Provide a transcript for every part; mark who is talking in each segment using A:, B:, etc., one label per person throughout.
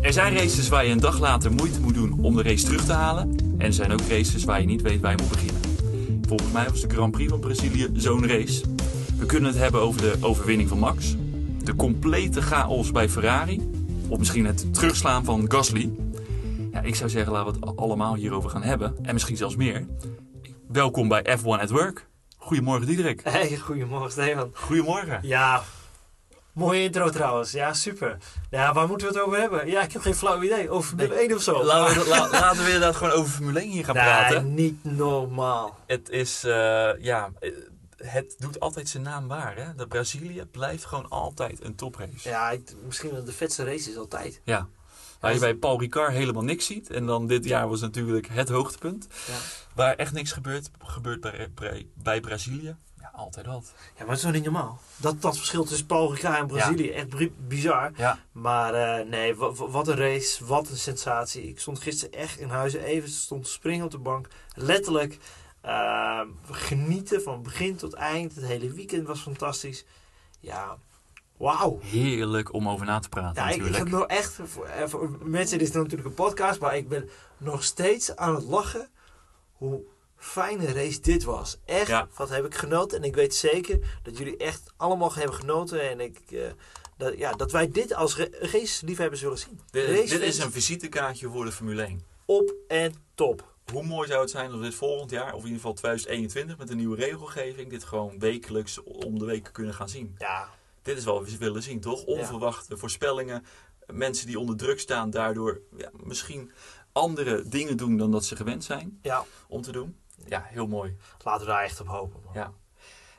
A: Er zijn races waar je een dag later moeite moet doen om de race terug te halen. En er zijn ook races waar je niet weet waar je moet beginnen. Volgens mij was de Grand Prix van Brazilië zo'n race. We kunnen het hebben over de overwinning van Max. De complete chaos bij Ferrari. Of misschien het terugslaan van Gasly. Ja, ik zou zeggen, laten we het allemaal hierover gaan hebben. En misschien zelfs meer. Welkom bij F1 at Work. Goedemorgen Diederik.
B: Hey, goedemorgen Stefan.
A: Goedemorgen.
B: Ja, mooie intro trouwens. Ja, super. Ja, waar moeten we het over hebben? Ja, ik heb geen flauw idee. Over Formule
A: Nee.
B: 1 of zo.
A: Laten we, la- laten we inderdaad gewoon over Formule 1 hier gaan
B: nee,
A: praten.
B: niet normaal.
A: Het is, eh, ja, eh, het doet altijd zijn naam waar. Hè? De Brazilië blijft gewoon altijd een toprace.
B: Ja, ik- misschien wel de vetste race is altijd.
A: Ja. Waar je bij Paul Ricard helemaal niks ziet. En dan dit jaar was natuurlijk het hoogtepunt.
B: Ja.
A: Waar echt niks gebeurt, gebeurt bij, bij, bij Brazilië. Ja, altijd dat.
B: Ja, maar het is toch niet normaal? Dat, dat verschil tussen Paul Ricard en Brazilië, echt bri- bizar.
A: Ja.
B: Maar eh, nee, wa- wa- wat een race, wat een sensatie. Ik stond gisteren echt in huizen even, stond te springen op de bank. Letterlijk eh, genieten van begin tot eind. Het hele weekend was fantastisch. Ja, wauw.
A: Heerlijk om over na te praten
B: Ja, ik, ik
A: natuurlijk.
B: heb nog echt, voor, eh, voor mensen, dit is natuurlijk een podcast, maar ik ben nog steeds aan het lachen hoe fijne race dit was. Echt,
A: Ja.
B: wat heb ik genoten en ik weet zeker dat jullie echt allemaal hebben genoten en ik, eh, dat, ja, dat wij dit als ra- race-liefhebbers willen zien.
A: Dit, dit is
B: Racefans
A: een visitekaartje voor de Formule 1.
B: op en top.
A: Hoe mooi zou het zijn als dit volgend jaar, of in ieder geval 2021, met een nieuwe regelgeving, dit gewoon wekelijks om de week kunnen gaan zien.
B: Ja,
A: Dit is wel wat we willen zien, toch? Onverwachte voorspellingen. Mensen die onder druk staan, daardoor ja, misschien andere dingen doen dan dat ze gewend zijn
B: ja,
A: om te doen. Ja, heel mooi.
B: laten we daar echt op hopen. man.
A: Ja.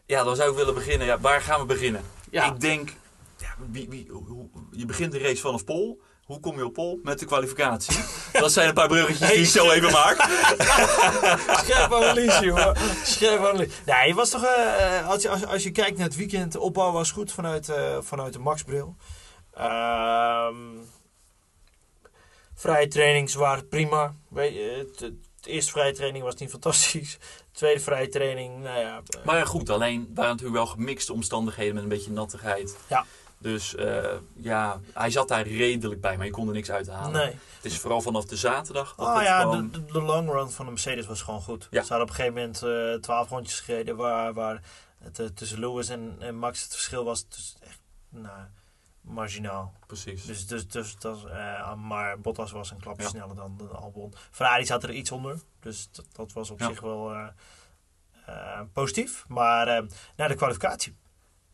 A: Ja, dan zou ik willen beginnen. Ja, waar gaan we beginnen?
B: Ja.
A: Ik denk, ja, wie, wie, hoe- hoe- je begint de race vanaf Pol. Hoe kom je op Pol? Met de kwalificatie. Dat zijn een paar bruggetjes die ik zo even maak.
B: Scherp analyse, jongen. Scherp analyse. Nee, het was toch, eh, als, je, als, als je kijkt naar het weekend, de opbouw was goed vanuit, eh, vanuit de Max-bril. Ehm, vrije trainings waren prima. Weet je, het- het- de eerste vrije training was niet fantastisch. De tweede vrije training, nou ja. eh,
A: Maar ja, goed, alleen waren natuurlijk wel gemixte omstandigheden met een beetje nattigheid.
B: Ja.
A: Dus eh, ja, hij zat daar redelijk bij, maar je kon er niks uithalen.
B: nee.
A: Het is vooral vanaf de zaterdag. Ah, Dat
B: Oh
A: het
B: ja,
A: gewoon-
B: de, de, de long run van de Mercedes was gewoon goed.
A: Ja.
B: Ze hadden op een gegeven moment eh, 12 rondjes gereden waar, waar het eh, tussen Lewis en, en Max het verschil was. Dus echt, nou, marginaal.
A: Precies.
B: Dus, dus, dus dat, is, eh, maar Bottas was een klapje
A: Ja.
B: sneller dan, dan Albon. Ferrari zat er iets onder. Dus dat, dat was op
A: Ja.
B: zich wel eh, eh, positief. Maar eh, naar de kwalificatie.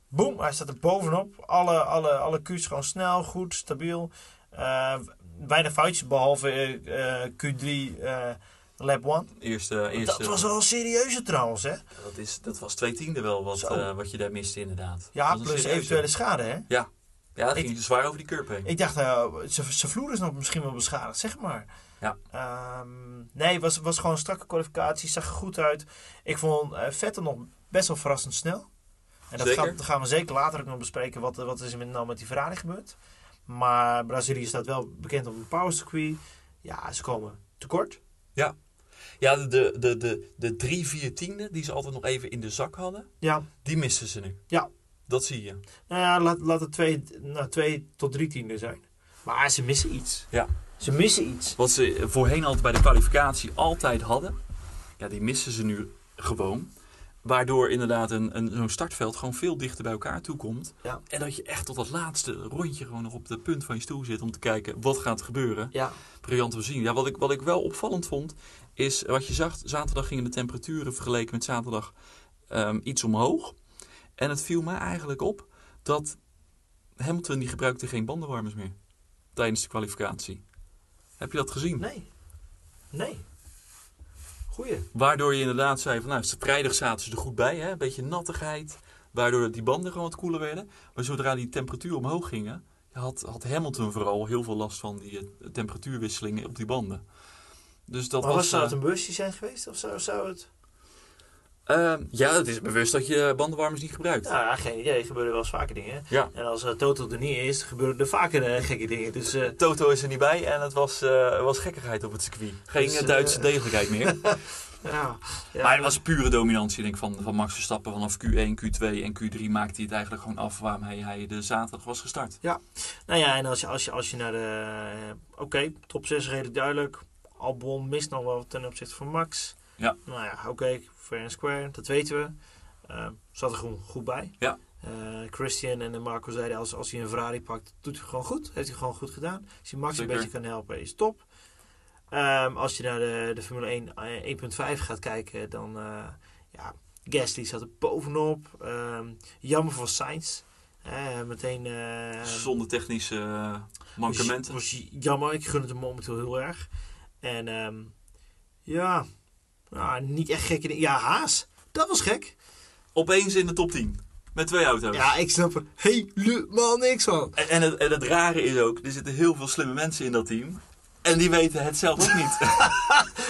B: Boom, hij staat er bovenop. Alle, alle, alle Q's gewoon snel, goed, stabiel. Eh, weinig foutjes, behalve eh, eh, Q3 eh, lap 1.
A: eerste, eerste,
B: Dat was wel een serieuze trouwens, hè?
A: dat, is, dat was twee tiende wel wat,
B: Zo.
A: eh, wat je daar miste inderdaad.
B: Ja,
A: Dat was een
B: plus
A: serieuze.
B: eventuele schade, hè?
A: Ja, dat
B: Ik-
A: ging dus zwaar over die curb heen.
B: Ik dacht, nou, ze ze vloer is nog misschien wel beschadigd, zeg maar.
A: Ja.
B: Ehm, nee, het was, was gewoon een strakke kwalificatie, zag er goed uit. Ik vond eh Vettel nog best wel verrassend snel. En dat
A: Zeker.
B: gaan, dat gaan we zeker later ook nog bespreken, wat, wat is er met- nou met die Ferrari gebeurd. Maar Brazilië staat wel bekend om een power circuit. Ja, ze komen tekort.
A: Ja, de, de, de, de, de drie, vier tiende die ze altijd nog even in de zak hadden,
B: Ja,
A: die misten ze nu.
B: Ja.
A: Dat zie je.
B: nou ja, laat, laat het twee, nou, twee tot drie tienden zijn. Maar ze missen iets.
A: Ja.
B: Ze missen iets.
A: Wat ze voorheen altijd bij de kwalificatie altijd hadden, ja, die missen ze nu gewoon. Waardoor inderdaad een, een, zo'n startveld gewoon veel dichter bij elkaar toe komt.
B: Ja.
A: En dat je echt tot dat laatste rondje gewoon nog op de punt van je stoel zit om te kijken wat gaat er gebeuren.
B: Ja,
A: Briljant om te zien. Ja, wat ik, wat ik wel opvallend vond, is wat je zag, zaterdag gingen de temperaturen vergeleken met zaterdag ehm, iets omhoog. En het viel mij eigenlijk op dat Hamilton die gebruikte geen bandenwarmers meer tijdens de kwalificatie. Heb je dat gezien?
B: nee. Nee. Goeie.
A: Waardoor je inderdaad zei van nou, vrijdag zaten ze er goed bij, hè? een beetje nattigheid. Waardoor die banden gewoon wat koeler werden. Maar zodra die temperatuur omhoog gingen, had, had Hamilton vooral heel veel last van die eh, temperatuurwisselingen op die banden. Dus dat
B: maar was,
A: was.
B: zou het
A: eh,
B: een busje zijn geweest? Of zou, zou het...
A: eh, ja, het is bewust dat je bandenwarmers niet gebruikt.
B: Nou ja, geen idee. Er gebeuren wel eens vaker dingen. hè?
A: Ja.
B: En als eh, Toto er niet is, gebeuren er vaker eh, gekke dingen. Dus eh,
A: Toto is er niet bij en het was, eh, was gekkigheid op het circuit. Geen
B: Dus,
A: eh, Duitse
B: eh,
A: degelijkheid meer.
B: Ja, ja.
A: Maar het was pure dominantie denk ik, van, van Max Verstappen. Vanaf Q1, Q2 en Q3 maakte hij het eigenlijk gewoon af waarmee hij de zaterdag was gestart.
B: Nou ja, en als je, als je, als je naar de... eh, Oké, top 6 redelijk duidelijk. Albon mist nog wel ten opzichte van Max.
A: Ja.
B: Nou ja, oké, fair and square, dat weten we. Eh, zat er gewoon goed bij.
A: Ja.
B: Eh, Christian en Marco zeiden, als, als hij een Ferrari pakt, doet hij gewoon goed. Heeft hij gewoon goed gedaan. Als hij Max
A: Zeker.
B: een beetje kan helpen, is top. Ehm, als je naar de, de Formule 1 eh, 1.5 gaat kijken, dan... eh, ja, Gasly zat er bovenop. Ehm, jammer voor Sainz. Eh, meteen... eh,
A: Zonder technische eh,
B: was-
A: mankementen.
B: Was, jammer, ik gun het hem momenteel heel erg. En ehm, ja, nou, niet echt gekke dingen. Ja, Haas, dat was gek.
A: Opeens in de top 10. Met twee auto's.
B: Ja, ik snap er helemaal niks van.
A: En, en, het, en het rare is ook, er zitten heel veel slimme mensen in dat team. En die weten het zelf ook niet.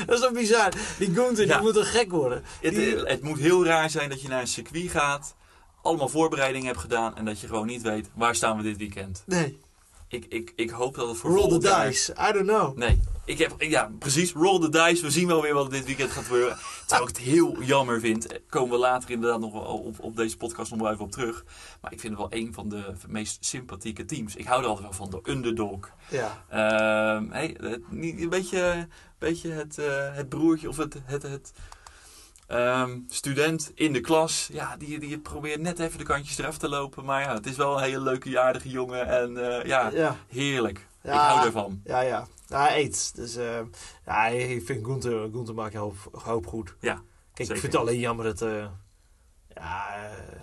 B: Dat is toch bizar? Die Gunther,
A: Ja.
B: die moet toch gek worden? Die-
A: het, het moet heel raar zijn dat je naar een circuit gaat, allemaal voorbereidingen hebt gedaan en dat je gewoon niet weet waar staan we dit weekend.
B: nee,
A: Ik, ik, ik hoop dat het voor
B: roll the
A: volgend jaar-
B: dice. I don't know.
A: Nee, ik heb, ja, precies. Roll the dice. We zien wel weer wat dit weekend gaat gebeuren. Terwijl ik het heel jammer vind. Eh, Komen we later inderdaad nog wel op, op deze podcast nog wel even op terug. Maar ik vind het wel een van de meest sympathieke teams. Ik hou er altijd wel van, de underdog.
B: Ja,
A: Ehm, hey, het- niet, een beetje, beetje het, eh, het broertje of het, het, het ehm, student in de klas. Ja, die, die probeert net even de kantjes eraf te lopen. Maar ja, het is wel een hele leuke, aardige jongen. En eh, ja,
B: ja,
A: heerlijk.
B: Ja.
A: Ik hou daarvan.
B: ja. ja. Nou, hij eet. Dus ehm, ja, ik vind Gunther, Gunther maakt een hoop, een hoop goed.
A: Ja,
B: Kijk,
A: zeker.
B: ik vind het alleen jammer dat... eh, ja, eh,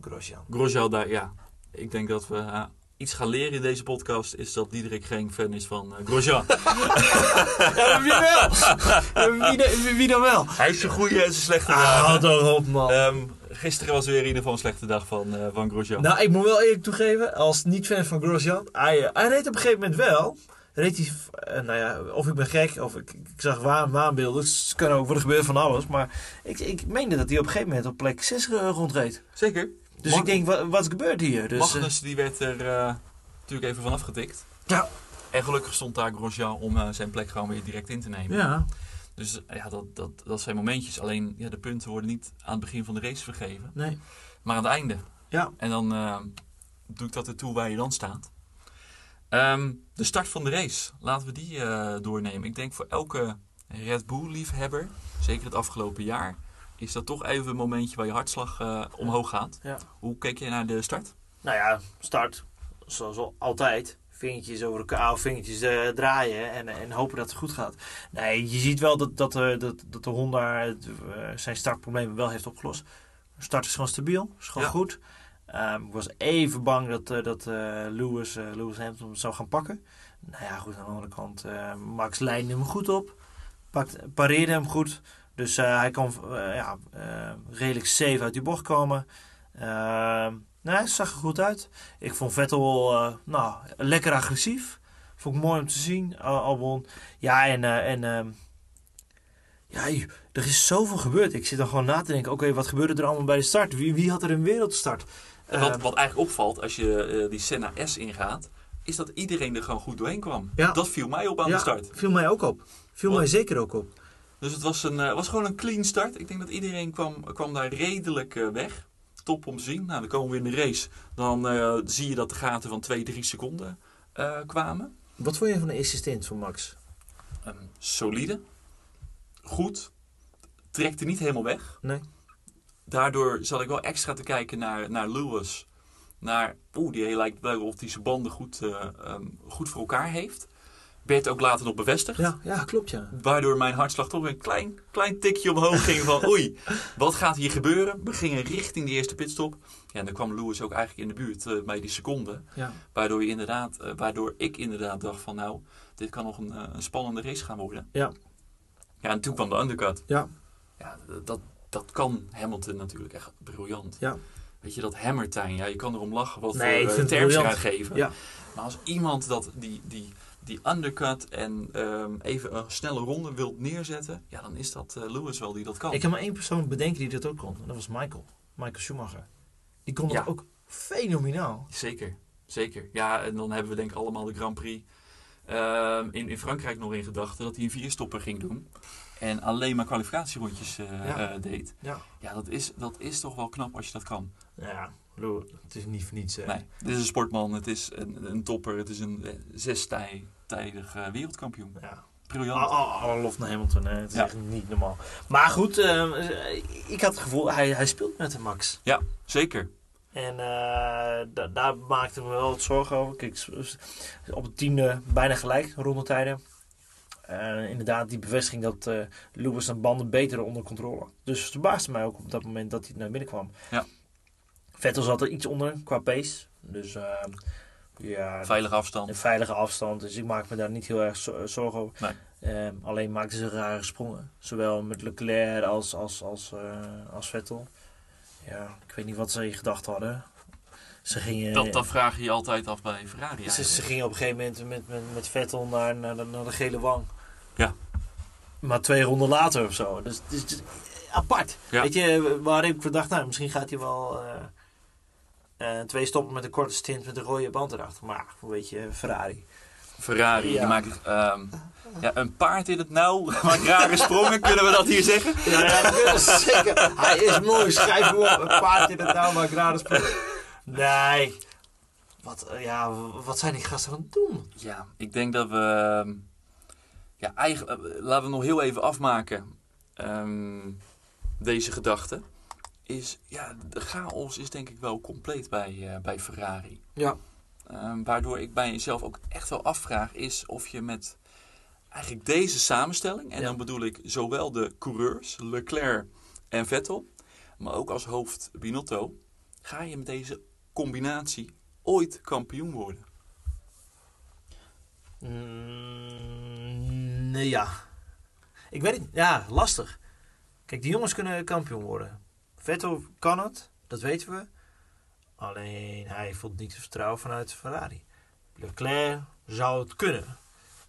B: Grosjean.
A: Grosjean, daar, ja. Ik denk dat we eh, iets gaan leren in deze podcast. Is dat Diederik geen fan is van eh, Grosjean.
B: Ja, wie wel? wie, dan- wie dan wel?
A: Hij heeft zijn goede en zijn slechte
B: Ah,
A: dagen.
B: houd toch op, man.
A: Ehm, gisteren was weer in ieder geval een slechte dag van, eh, van Grosjean.
B: nou, ik moet wel eerlijk toegeven, als niet-fan van Grosjean, hij, eh, hij reed op een gegeven moment wel. Reed hij, eh, nou ja, of ik ben gek, of ik, ik zag waan, waanbeelden. Dus het kan ook worden gebeurd van alles. Maar ik, ik meende dat hij op een gegeven moment op plek 6 rondreed.
A: Zeker.
B: Dus
A: Mag-
B: ik denk, wat, wat gebeurt hier? Dus, eh,
A: Magnus die werd er eh, natuurlijk even van afgetikt.
B: Ja.
A: En gelukkig stond daar Grosjean om eh, zijn plek gewoon weer direct in te nemen.
B: ja,
A: Dus eh, ja, dat, dat, dat zijn momentjes. Alleen ja, de punten worden niet aan het begin van de race vergeven,
B: nee.
A: maar aan het einde.
B: Ja,
A: En dan eh, doe ik dat ertoe waar je dan staat. Ehm, de start van de race, laten we die eh, doornemen. Ik denk voor elke Red Bull-liefhebber, zeker het afgelopen jaar, is dat toch even een momentje waar je hartslag eh, omhoog gaat.
B: Ja.
A: Hoe keek je naar de start?
B: nou ja, start, zoals al- altijd. Vingertjes over elkaar, of vingertjes eh, draaien en, en hopen dat het goed gaat. Nee, je ziet wel dat, dat, eh, dat, dat de Honda eh, zijn startproblemen wel heeft opgelost. De start is gewoon stabiel, is gewoon
A: Ja.
B: goed. Ehm, ik was even bang dat, eh, dat eh, Lewis, eh, Lewis Hamilton het zou gaan pakken. Nou ja, goed, aan de andere kant, eh, Max leidde hem goed op. Pakt, pareerde hem goed. Dus eh, hij kan eh, ja, eh, redelijk safe uit die bocht komen. Ehm nou, hij zag er goed uit. Ik vond Vettel eh, nou, lekker agressief. Vond ik mooi om te zien, eh, Albon. Ja, en, eh, en ehm, ja, joh, er is zoveel gebeurd. Ik zit dan gewoon na te denken, oké, wat gebeurde er allemaal bij de start? Wie, wie had er een wereldstart? Eh,
A: wat, wat eigenlijk opvalt als je eh, die Senna S ingaat, is dat iedereen er gewoon goed doorheen kwam.
B: Ja.
A: Dat viel mij op aan
B: ja,
A: de start.
B: viel mij ook op. Viel
A: Wat?
B: mij zeker ook op.
A: Dus het was, een, eh, was gewoon een clean start. Ik denk dat iedereen kwam, kwam daar redelijk eh, weg. Top om te zien. Nou, dan komen we in de race. Dan eh, zie je dat de gaten van 2, 3 seconden eh, kwamen.
B: Wat vond je van de eerste stint van Max?
A: Ehm, solide. Goed. Trekte niet helemaal weg.
B: Nee.
A: Daardoor zat ik wel extra te kijken naar, naar Lewis. Naar, oeh, die lijkt wel of hij zijn banden goed, eh, ehm, goed voor elkaar heeft. Werd ook later nog bevestigd.
B: Ja, ja klopt ja.
A: Waardoor mijn hartslag toch weer een klein, klein tikje omhoog ging van oei, wat gaat hier gebeuren? We gingen richting die eerste pitstop. Ja, en dan kwam Lewis ook eigenlijk in de buurt eh, bij die seconde.
B: ja.
A: Waardoor, je inderdaad, eh, waardoor ik inderdaad dacht van nou, dit kan nog een, eh, een spannende race gaan worden.
B: Ja.
A: Ja, en toen kwam de undercut.
B: Ja.
A: Ja, d- dat, dat kan Hamilton natuurlijk echt briljant.
B: Ja.
A: Weet je, dat hammertijn, ja, je kan erom lachen wat
B: Nee,
A: voor
B: ik
A: eh,
B: vind het
A: terms je gaat
B: briljant.
A: geven.
B: Ja.
A: Maar als iemand dat, die, die, die undercut en ehm, even een snelle ronde wilt neerzetten, ja, dan is dat eh, Lewis wel die dat kan.
B: Ik kan maar één persoon bedenken die dat ook kon. En dat was Michael. Michael Schumacher. Die kon dat
A: Ja.
B: ook fenomenaal.
A: Zeker, zeker. Ja, en dan hebben we denk ik allemaal de Grand Prix ehm, in, in Frankrijk nog in gedachten dat hij een vierstopper ging doen. En alleen maar kwalificatierondjes eh,
B: Ja.
A: eh, deed.
B: Ja.
A: Ja, dat is, dat is toch wel knap als je dat kan.
B: Nou Ja, ik bedoel, het is niet voor niets. hè.
A: Nee, dit is een sportman, het is een, een topper, het is een eh, zestijdig eh, wereldkampioen.
B: Ja.
A: Briljant.
B: Alle alle lof naar Hamilton, hè. het is
A: Ja.
B: echt niet normaal. Maar goed, ehm, ik had het gevoel, hij, hij speelt met de Max.
A: Zeker.
B: En eh, da- daar maakten we wel wat zorgen over. Kijk, s- s- op het tiende bijna gelijk, rondetijden. Eh inderdaad, die bevestiging dat eh, Lewis zijn banden beter onder controle had. Dus het verbaasde mij ook op dat moment dat hij naar binnen kwam.
A: Ja.
B: Vettel zat er iets onder qua pace. Dus eh, ja,
A: Veilige afstand.
B: een veilige afstand. Dus ik maak me daar niet heel erg zo- eh, zorgen over.
A: Nee.
B: Ehm, alleen maakten ze rare sprongen. Zowel met Leclerc als, als, als, eh, als Vettel. Ja, ik weet niet wat ze in gedachten hadden. Ze gingen,
A: Dat, dat vraag je je altijd af bij Ferrari.
B: ze, ze
A: eigenlijk.
B: gingen op een gegeven moment met, met, met Vettel naar, naar, de, naar de gele wang.
A: Ja.
B: Maar twee ronden later of zo. Dus, dus, dus apart.
A: Ja.
B: Weet je, waar ik voor dacht, nou, misschien gaat hij wel eh, eh, twee stoppen met een korte stint met een rode band erachter. Maar weet je, Ferrari.
A: Ferrari,
B: Ja.
A: die maakt ehm, ja, een paard in het nauw. Maakt rare sprongen, kunnen we dat hier zeggen?
B: Ja, dat is zeker. Hij is mooi. Schrijf hem op. Een paard in het nauw maakt rare sprongen. Nee. Wat, eh, ja, w- wat zijn die gasten aan het doen?
A: Ja, ik denk dat we. ehm, Ja, eigenlijk, eh, laten we nog heel even afmaken. ehm, deze gedachte. Is, ja, de chaos is denk ik wel compleet bij, eh, bij Ferrari.
B: Ja.
A: Ehm, waardoor ik bij jezelf ook echt wel afvraag is of je met eigenlijk deze samenstelling, en
B: Ja.
A: dan bedoel ik zowel de coureurs, Leclerc en Vettel, maar ook als hoofd Binotto, ga je met deze combinatie ooit kampioen worden?
B: Mm, nee, ja. Ik weet het niet. Ja, lastig. Kijk, die jongens kunnen kampioen worden. Vettel kan het. Dat weten we. Alleen hij voelt niet het vertrouwen vanuit Ferrari. Leclerc zou het kunnen.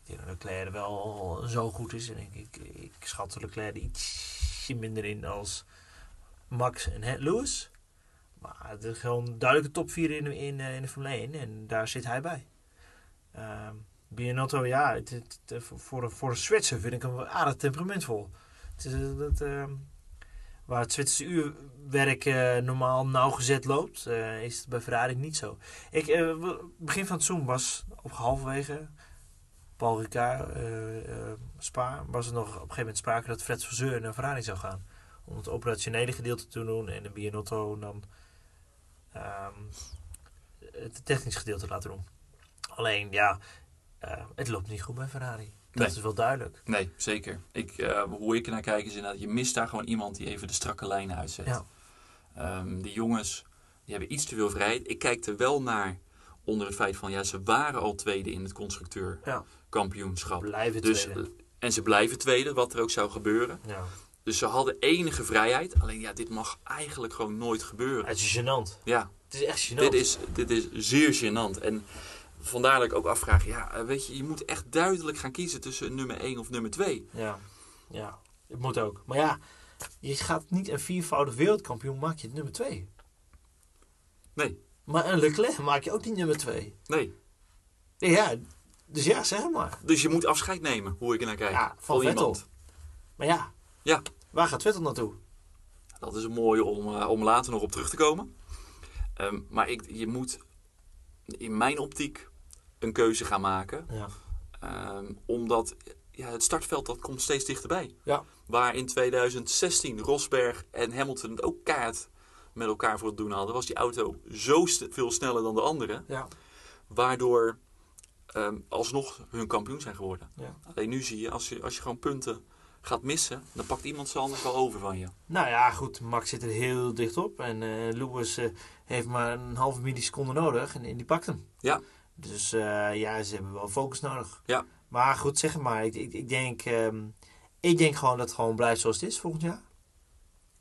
B: Ik denk dat Leclerc wel zo goed is. En ik, ik, ik schat Leclerc ietsje minder in als Max en He- Lewis. Maar het is gewoon een duidelijke top 4 in, de- in, eh, in de Formule 1. En daar zit hij bij. Ehm Bianotto, ja, het, het- het- voor, een- voor een Zwitser vind ik hem wel aardig temperamentvol. Het is, eh, dat, ehm, waar het Zwitserse uurwerk eh, normaal nauwgezet loopt, eh, is het bij Ferrari niet zo. Ik, eh, w- begin van het seizoen was op halverwege Paul Ricard, eh, eh, Spa, was er nog op een gegeven moment sprake dat Fred Verzeur naar Ferrari zou gaan. Om het operationele gedeelte te doen en de Bianotto dan ehm, het technisch gedeelte te laten doen. Alleen ja, eh, het loopt niet goed bij Ferrari. Dat
A: Nee.
B: is wel duidelijk.
A: Nee, zeker. Ik, eh, hoe ik ernaar kijk is inderdaad, je mist daar gewoon iemand die even de strakke lijnen uitzet.
B: Ja.
A: Ehm, die jongens, die hebben iets te veel vrijheid. Ik kijk er wel naar onder het feit van, ja, ze waren al tweede in het
B: Ja.
A: constructeurkampioenschap.
B: Blijven
A: Dus,
B: tweede.
A: eh, en ze blijven tweede, wat er ook zou gebeuren.
B: Ja.
A: Dus ze hadden enige vrijheid. Alleen ja, dit mag eigenlijk gewoon nooit gebeuren.
B: Het is gênant.
A: Ja,
B: Het is echt gênant.
A: dit is, dit is zeer gênant. En vandaar dat ik ook afvraag, ja, eh, weet je, je moet echt duidelijk gaan kiezen tussen nummer 1 of nummer 2.
B: Ja. ja, het moet ook. Maar ja, je gaat niet een viervoudig wereldkampioen maak je het nummer twee.
A: Nee,
B: Maar een Leclerc maak je ook niet nummer twee.
A: nee.
B: Ja, dus ja, zeg het maar.
A: Dus je moet afscheid nemen, hoe ik ernaar kijk.
B: Ja, van Vettel. Maar ja,
A: Ja.
B: waar gaat Vettel naartoe?
A: Dat is een mooie om, eh, om later nog op terug te komen. Ehm, maar ik, je moet in mijn optiek een keuze gaan maken.
B: Ja.
A: Ehm, omdat ja, het startveld dat komt steeds dichterbij.
B: Ja.
A: Waar in 2016 Rosberg en Hamilton het ook kaart met elkaar voor het doen hadden, was die auto zo st- veel sneller dan de andere.
B: Ja.
A: Waardoor ehm, alsnog hun kampioen zijn geworden.
B: Ja.
A: Alleen nu zie je als, je, als je gewoon punten gaat missen, dan pakt iemand ze anders wel over van je.
B: Nou ja, goed, Max zit er heel dicht op. En eh, Lewis eh, heeft maar een halve milliseconde nodig en, en die pakt hem.
A: Ja.
B: Dus eh, ja, ze hebben wel focus nodig.
A: Ja.
B: Maar goed, zeg het maar. Ik, ik, ik, denk, ehm, ik denk gewoon dat het gewoon blijft zoals het is volgend jaar.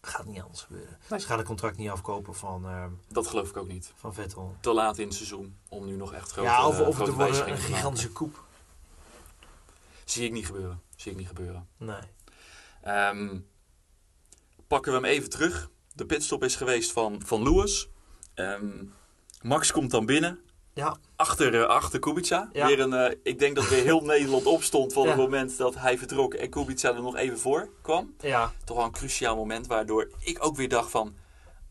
B: Gaat niet anders gebeuren.
A: Nee.
B: Ze gaan het contract niet afkopen van, ehm,
A: Dat geloof ik ook niet.
B: van Vettel.
A: te laat in het seizoen om nu nog echt grote,
B: ja, of,
A: eh,
B: of
A: grote
B: er wordt een
A: wijzigingen te maken.
B: gigantische koep.
A: Zie ik niet gebeuren. Zie ik niet gebeuren.
B: Nee.
A: Ehm, pakken we hem even terug. De pitstop is geweest van, van Lewis. Ehm, Max komt dan binnen.
B: Ja.
A: achter, eh, achter Kubica.
B: Ja.
A: Weer een, eh, ik denk dat weer heel Nederland opstond van
B: Ja.
A: het moment dat hij vertrok en Kubica er nog even voor kwam.
B: Ja,
A: Toch wel een cruciaal moment waardoor ik ook weer dacht van...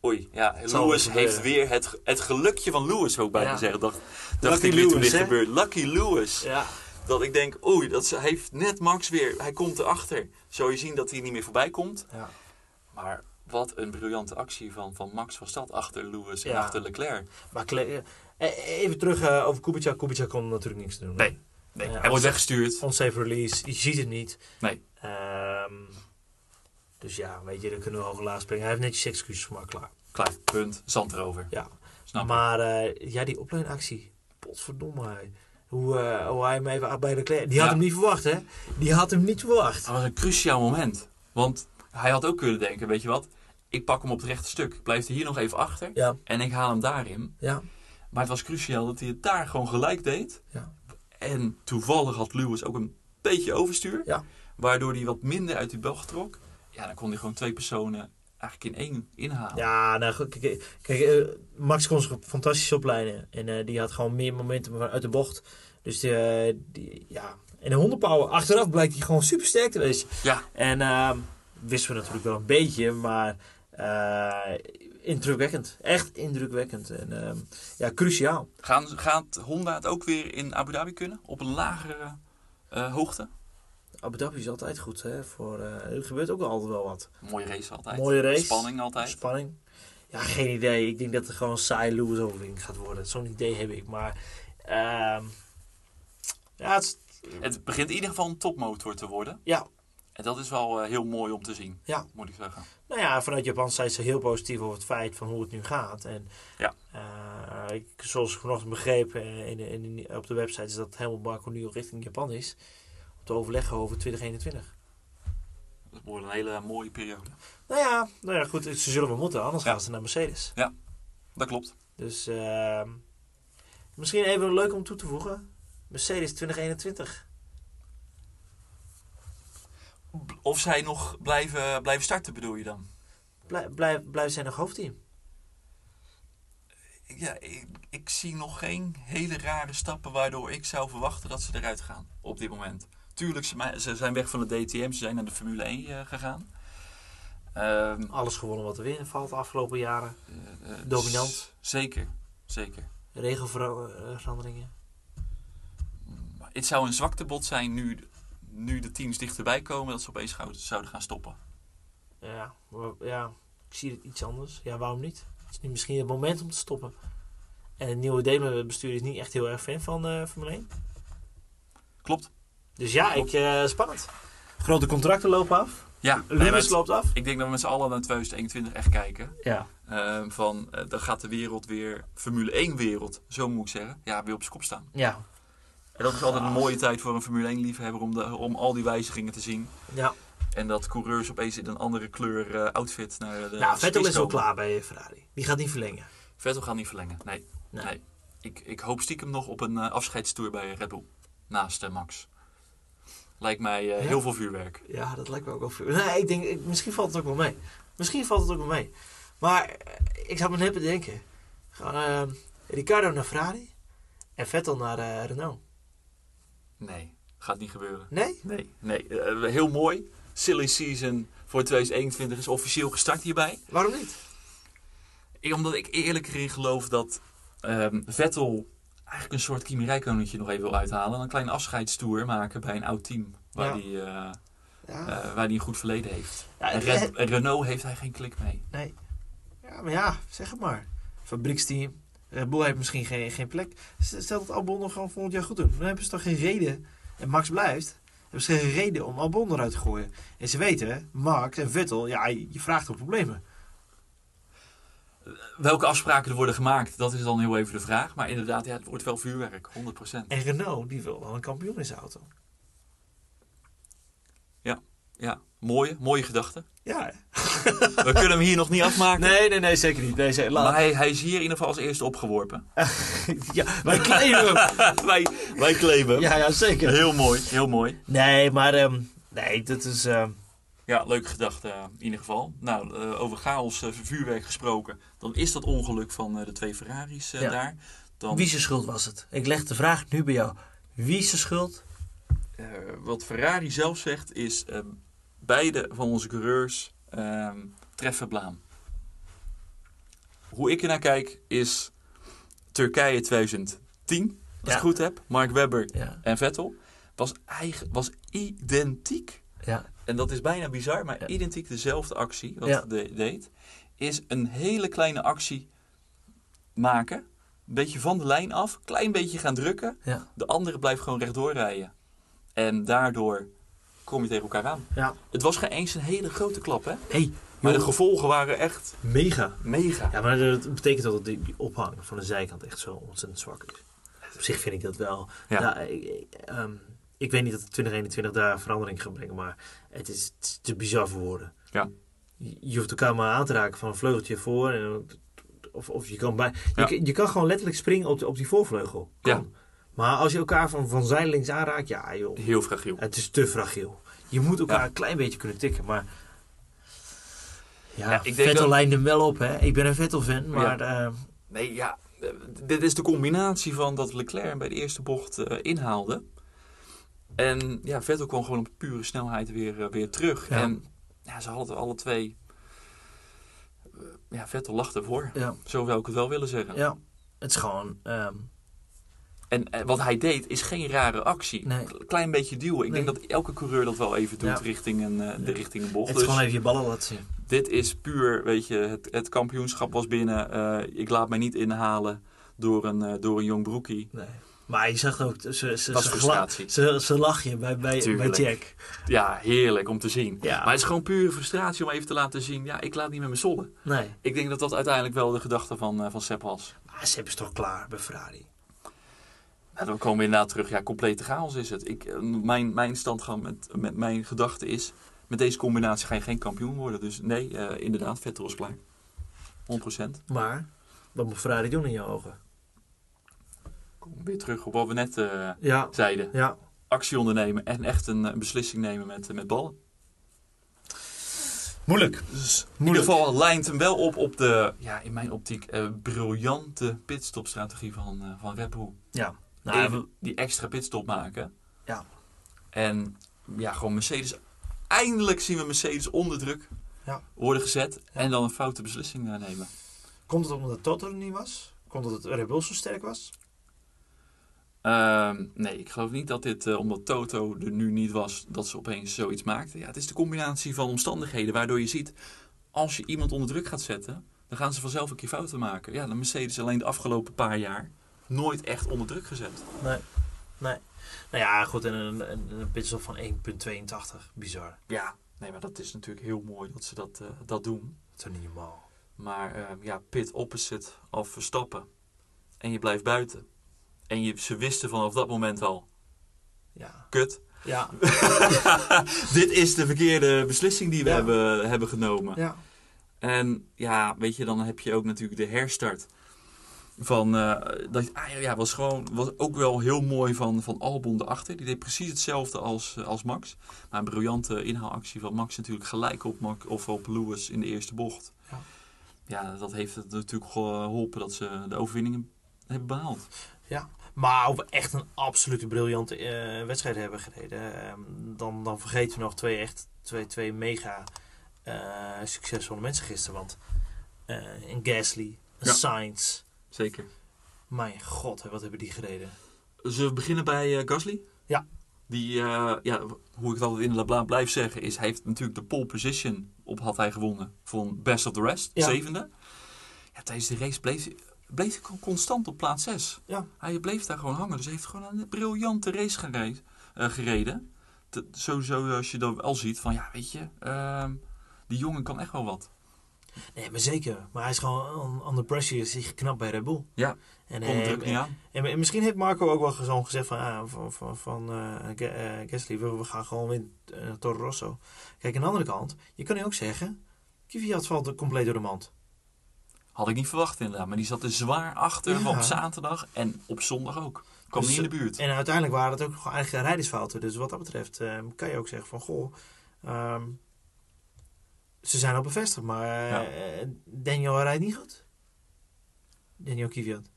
A: Oei, ja,
B: zal
A: Lewis
B: wel gebeuren.
A: heeft weer het, het gelukje van Lewis, ook bij
B: Ja.
A: me zeggen. Dacht, dacht
B: Lucky
A: ik weer toen
B: Lewis,
A: dit
B: hè?
A: gebeurde. Lucky Lewis.
B: ja.
A: Dat ik denk, oei, dat ze- hij heeft net Max weer. Hij komt erachter. Zou je zien dat hij niet meer voorbij komt.
B: ja.
A: Maar wat een briljante actie van, van Max was dat achter Lewis en
B: Ja.
A: achter Leclerc.
B: Maar Kle- eh, even terug eh, over Kubica. Kubica kon natuurlijk niks doen.
A: Nee. Nee,
B: Ja,
A: hij wordt weggestuurd.
B: Onsafe release, je ziet het niet.
A: Nee.
B: Ehm, dus ja, weet je, dan kunnen we hoog en laag springen. Hij heeft netjes excuses gemaakt, klaar.
A: Klaar, punt, zand erover.
B: Ja.
A: Snap maar,
B: Maar eh, ja, die opleidingactie. Potverdomme. hij. Hoe, eh, hoe hij hem even bij de Die had
A: Ja. Oh.
B: hem niet verwacht, hè? Die had hem niet verwacht.
A: Dat was een cruciaal moment. Want hij had ook kunnen denken, weet je wat? Ik pak hem op het rechte stuk. Ik blijf er hier nog even achter.
B: Ja,
A: En ik haal hem daarin.
B: ja,
A: Maar het was cruciaal dat hij het daar gewoon gelijk deed.
B: Ja.
A: En toevallig had Lewis ook een beetje overstuur.
B: Ja.
A: Waardoor hij wat minder uit die bocht trok. Ja, dan kon hij gewoon twee personen eigenlijk in één inhalen.
B: ja. Nou goed, kijk, kijk eh, Max kon zich fantastisch opleiden. En eh, die had gewoon meer momentum uit de bocht. Dus die, eh, die- ja. En de hondenpower, achteraf blijkt hij gewoon super sterk te wezen.
A: Ja.
B: En ehm, wisten we natuurlijk wel een beetje, maar eh, indrukwekkend. Echt indrukwekkend. En ehm, ja, cruciaal.
A: Gaan, gaat Honda het ook weer in Abu Dhabi kunnen? Op een lagere eh, hoogte?
B: Abu Dhabi is altijd goed, hè? Voor, eh, er gebeurt ook altijd wel wat.
A: Mooie race altijd.
B: Mooie race.
A: Spanning altijd.
B: Spanning. Ja, geen idee. Ik denk dat er gewoon een saai Lewis overwinning gaat worden. Zo'n idee heb ik. Maar ehm, ja, het is-
A: Het begint in ieder geval een topmotor te worden.
B: Ja.
A: En dat is wel eh, heel mooi om te zien,
B: Ja.
A: moet ik zeggen.
B: nou ja, vanuit Japan zijn ze heel positief over het feit van hoe het nu gaat. En,
A: Ja.
B: eh, ik, zoals ik vanochtend begreep eh, in, de- in, de- op de website is dat Helmut Marko nu al richting Japan is. Om te overleggen over 2021.
A: Dat wordt een hele mooie periode.
B: Nou ja, nou ja goed, ze zullen wel moeten. Anders
A: Ja.
B: gaan ze naar Mercedes.
A: Dat klopt.
B: Dus ehm, misschien even leuk om toe te voegen. Mercedes 2021.
A: Of zij nog blijven, blijven starten, bedoel je dan?
B: Blijf, blijf, blijf zijn nog hoofdteam.
A: Ja, ik, ik zie nog geen hele rare stappen waardoor ik zou verwachten dat ze eruit gaan op dit moment. Tuurlijk, ze, ma- ze zijn weg van de DTM, ze zijn naar de Formule 1 eh, gegaan. Ehm,
B: Alles gewonnen wat er winnen valt de afgelopen jaren.
A: eh, eh,
B: Dominant.
A: s- Zeker, zeker.
B: Regelveranderingen.
A: Maar Het zou een zwaktebod zijn nu, nu de teams dichterbij komen dat ze opeens gauw zouden gaan stoppen.
B: Ja, maar- ja, ik zie het iets anders. Ja, waarom niet? Het is nu misschien het moment om te stoppen. En het nieuwe Daimler-bestuur is niet echt heel erg fan van eh Formule 1.
A: Klopt.
B: Dus ja, ik, eh, spannend. Grote contracten lopen af.
A: Ja, nee, maar
B: Lewis
A: het-
B: loopt af.
A: ik denk dat we met z'n allen naar 2021 echt kijken.
B: Ja.
A: Ehm, van, eh, dan gaat de wereld weer, Formule 1 wereld, zo moet ik zeggen, ja, weer op zijn kop staan.
B: Ja.
A: En dat is altijd
B: Ah.
A: een mooie tijd voor een Formule 1 liefhebber om, de, om al die wijzigingen te zien.
B: ja.
A: En dat coureurs opeens in een andere kleur eh, outfit naar de
B: Nou, Vettel
A: spits
B: is al
A: komen.
B: klaar bij Ferrari. Die gaat niet verlengen.
A: Vettel gaat niet verlengen, nee.
B: Nee.
A: nee. Ik, ik hoop stiekem nog op een eh, afscheidstoer bij Red Bull, naast eh, Max. Lijkt mij eh,
B: Ja?
A: heel veel vuurwerk.
B: Ja, dat lijkt me ook wel veel. Nee, ik denk, ik- misschien valt het ook wel mee. Misschien valt het ook wel mee. Maar eh, ik zou me net bedenken. Gaan eh, Ricardo naar Ferrari en Vettel naar eh, Renault.
A: Nee, gaat niet gebeuren.
B: Nee?
A: Nee, nee. Eh, heel mooi. Silly season voor 2021 is officieel gestart hierbij.
B: Waarom niet?
A: Ik- Omdat ik eerlijk erin geloof dat ehm, Vettel eigenlijk een soort Kimi Räikkönetje nog even wil uithalen. En een kleine afscheidstoer maken bij een oud team waar
B: Ja.
A: hij eh,
B: Ja,
A: eh, waar die een goed verleden heeft.
B: ja,
A: En
B: het-
A: Red-
B: het-
A: en Renault heeft hij geen klik mee.
B: nee. Ja, maar ja, zeg het maar. Fabrieksteam. Red Bull heeft misschien geen, geen plek. S- Stel dat Albon nog gewoon volgend jaar goed doet. Dan hebben ze toch geen reden. En Max blijft. Hebben ze geen reden om Albon eruit te gooien. En ze weten, Max en Vettel, ja, je vraagt om problemen.
A: Welke afspraken er worden gemaakt, dat is dan heel even de vraag. Maar inderdaad, ja, het wordt wel vuurwerk, 100%.
B: En Renault, die wil wel een kampioen in zijn auto.
A: Ja, mooie, mooie gedachte.
B: Ja.
A: We kunnen hem hier nog niet afmaken.
B: Nee, nee, nee, zeker niet. Nee, zeker,
A: Maar
B: laat.
A: hij, hij is hier in ieder geval als eerste opgeworpen.
B: Ja, wij claimen hem.
A: wij, wij claimen hem.
B: Ja, ja, zeker.
A: Heel mooi, heel mooi.
B: Nee, maar ehm, nee, dat is... ehm,
A: Ja, leuke gedachte eh, in ieder geval. Nou, eh, over chaos, eh, vuurwerk gesproken. Dan is dat ongeluk van eh, de twee Ferraris eh,
B: Ja.
A: daar. Dan,
C: Wie zijn schuld was het? Ik leg de vraag nu bij jou. Wie zijn schuld?
A: eh, wat Ferrari zelf zegt is... eh, beide van onze coureurs eh, treffen blaam. Hoe ik ernaar kijk is Turkije 2010, als ik
C: Ja.
A: het goed heb. Mark Webber
C: Ja,
A: en Vettel. Was, eigen, was identiek
C: ja,
A: en dat is bijna bizar, maar
C: Ja.
A: identiek dezelfde actie wat
C: Ja.
A: de, deed, is een hele kleine actie maken, een beetje van de lijn af, klein beetje gaan drukken.
C: ja.
A: De andere blijft gewoon rechtdoor rijden. En daardoor kom je tegen elkaar aan.
B: Ja.
A: Het was geen eens een hele grote klap, hè?
B: Hey,
A: Maar de gevolgen waren echt
B: mega.
A: mega.
B: Ja, maar dat betekent dat die, die ophanging van de zijkant echt zo ontzettend zwak is. Op zich vind ik dat wel.
A: Ja.
B: Nou, ik, ik- ehm, ik weet niet dat de 2021 daar verandering gaat brengen, maar het is, het is te bizar voor woorden.
A: Ja.
B: Je, je hoeft elkaar maar aan te raken van een vleugeltje voor. En, of, of je kan bij.
A: Ja.
B: Je, kan- je kan gewoon letterlijk springen op, de- op die voorvleugel. Kan. Maar als je elkaar van, van zijdelings aanraakt, ja joh.
A: Heel fragiel.
B: Het is te fragiel. Je moet elkaar
A: Ja.
B: een klein beetje kunnen tikken, maar. Ja,
A: Ja, ik denk
C: Vettel
A: dat-
C: lijnt hem wel op, hè? Ik ben een Vettel-fan, maar... eh,
A: Nee, ja. eh, Dit is de combinatie van dat Leclerc hem bij de eerste bocht eh, inhaalde. En ja, Vettel kwam gewoon op pure snelheid weer, eh, weer terug.
C: Ja.
A: En ja, ze hadden het alle twee... eh, Ja, Vettel lag ervoor.
C: ja,
A: Zo zou ik het wel willen zeggen.
C: ja. Het is gewoon... ehm,
A: En eh, wat hij deed is geen rare actie.
C: Nee.
A: Een Klein beetje duwen. Ik
C: Nee.
A: denk dat elke coureur dat wel even doet
C: Ja.
A: richting, een, eh, de,
C: Ja.
A: richting een bocht.
C: het is
A: Dus-
C: gewoon even je ballen laten zien.
A: dit is puur, weet je, het, het kampioenschap was binnen. Eh, ik laat mij niet inhalen door een, eh, door een jong broekie.
C: Nee. Maar je zag ook... Ze, ze, ze,
A: Dat is
C: gla-
A: frustratie.
C: ze, ze lach je bij, bij, bij
A: Tuurlijk.
C: Jack.
A: Ja, heerlijk om te zien.
C: Ja.
A: Maar het is gewoon pure frustratie om even te laten zien. Ja, ik laat niet met mijn sollen.
C: Nee. Ah,
A: Ik denk dat dat uiteindeblijk wel de gedachte van, eh van Sepp was.
C: Maar Sepp is toch klaar bij Ferrari?
A: Nou, dan komen we inderdaad terug. Ja, complete chaos is het. Ik, eh, mijn, mijn standgang met, met mijn gedachte is... met deze combinatie ga je geen kampioen worden. Dus nee, eh, inderdaad, Vettel is klaar. 100%.
C: Maar,
B: wat moet Ferrari doen in je ogen?
A: Kom weer terug op wat we net eh,
B: Ja,
A: zeiden.
B: ja.
A: actie ondernemen en echt een eh, beslissing nemen met, eh, met ballen.
B: Moeilijk.
A: Dus in ieder
B: Moeilijk.
A: geval lijnt hem wel op op de, ja, in mijn optiek, eh, briljante pitstopstrategie van, eh, van Red Bull.
C: ja. Nou,
A: Nou,
C: we-
A: Even die extra pitstop maken.
C: Ja.
A: En ja, gewoon Mercedes. Eindelijk zien we Mercedes onder druk
B: Ja.
A: worden gezet en dan een foute beslissing eh, nemen.
B: Komt het omdat Toto er niet was? Komt het omdat Red Bull zo sterk was?
A: Ehm, nee, ik geloof niet dat dit, eh, omdat Toto er nu niet was, dat ze opeens zoiets maakte. Ja, het is de combinatie van omstandigheden waardoor je ziet, als je iemand onder druk gaat zetten, dan gaan ze vanzelf een keer fouten maken. Ja, de Mercedes alleen de afgelopen paar jaar nooit echt onder druk gezet.
B: Nou ja, goed, en een, een, een pitstop van 1,82. Bizar.
A: Ja, nee, maar dat is natuurlijk heel mooi dat ze dat, eh, dat doen.
B: Dat is toch niet normaal.
A: Maar ehm, ja, pit opposite of verstappen. En je blijft buiten. En je, ze wisten vanaf dat moment al,
B: Ja.
A: kut.
B: Ja.
A: Dit is de verkeerde beslissing die we
B: Ja.
A: hebben, hebben genomen.
B: ja.
A: En ja, weet je, dan heb je ook natuurlijk de herstart. Van, eh, dat, ah, ja, ja, was gewoon was ook wel heel mooi van, van Albon erachter. Die deed precies hetzelfde als, eh, als Max. Maar een briljante inhaalactie van Max natuurlijk gelijk op, Max, of op Lewis in de eerste bocht.
B: Ja.
A: Ja, dat heeft het natuurlijk geholpen dat ze de overwinningen hebben behaald.
B: Maar of we echt een absolute briljante eh, wedstrijd hebben gereden, ehm, dan, dan vergeten we nog twee echt twee, twee mega eh, succesvolle mensen gisteren. Want eh, een Gasly, een
A: Ja.
B: Sainz,
A: Zeker.
B: mijn god, hè, wat hebben die gereden?
A: Zullen we beginnen bij eh, Gasly?
B: Ja.
A: Die, eh, ja, hoe ik het altijd in de bla blijf zeggen, is hij heeft natuurlijk de pole position op had hij gewonnen van Best of the Rest,
B: Ja.
A: zevende. Ja, tijdens de race bleef, hij- bleef hij con- constant op plaats 6.
B: Ja.
A: Hij bleef daar gewoon hangen, dus hij heeft gewoon een briljante race gere- eh, gereden. Te- sowieso eh, als je dan wel ziet van, ja, weet je, ehm, die jongen kan echt wel wat.
B: Nee, maar zeker. Maar hij is gewoon on- under pressure, is hij geknapt bij Red Bull.
A: Ja.
B: En,
A: Komt
B: eh,
A: druk niet aan.
B: en, en misschien heeft Marco ook wel gewoon gezegd van, ah, van, van, van eh, Ga- eh, Gasly, we, we gaan gewoon winnen eh, Toro Rosso. Kijk, aan de andere kant, je kan nu ook zeggen, Kvyat valt compleet door de mand.
A: Had ik niet verwacht inderdaad, maar die zat er zwaar achter
B: Ja.
A: op zaterdag en op zondag ook. Kwam
B: Dus,
A: niet in de buurt.
B: En uiteindelijk waren het ook gewoon eigen rijdersfouten. Dus wat dat betreft ehm, kan je ook zeggen van... Goh, ehm, ze zijn al bevestigd, maar eh, Daniel rijdt niet goed. Daniel Kvyat.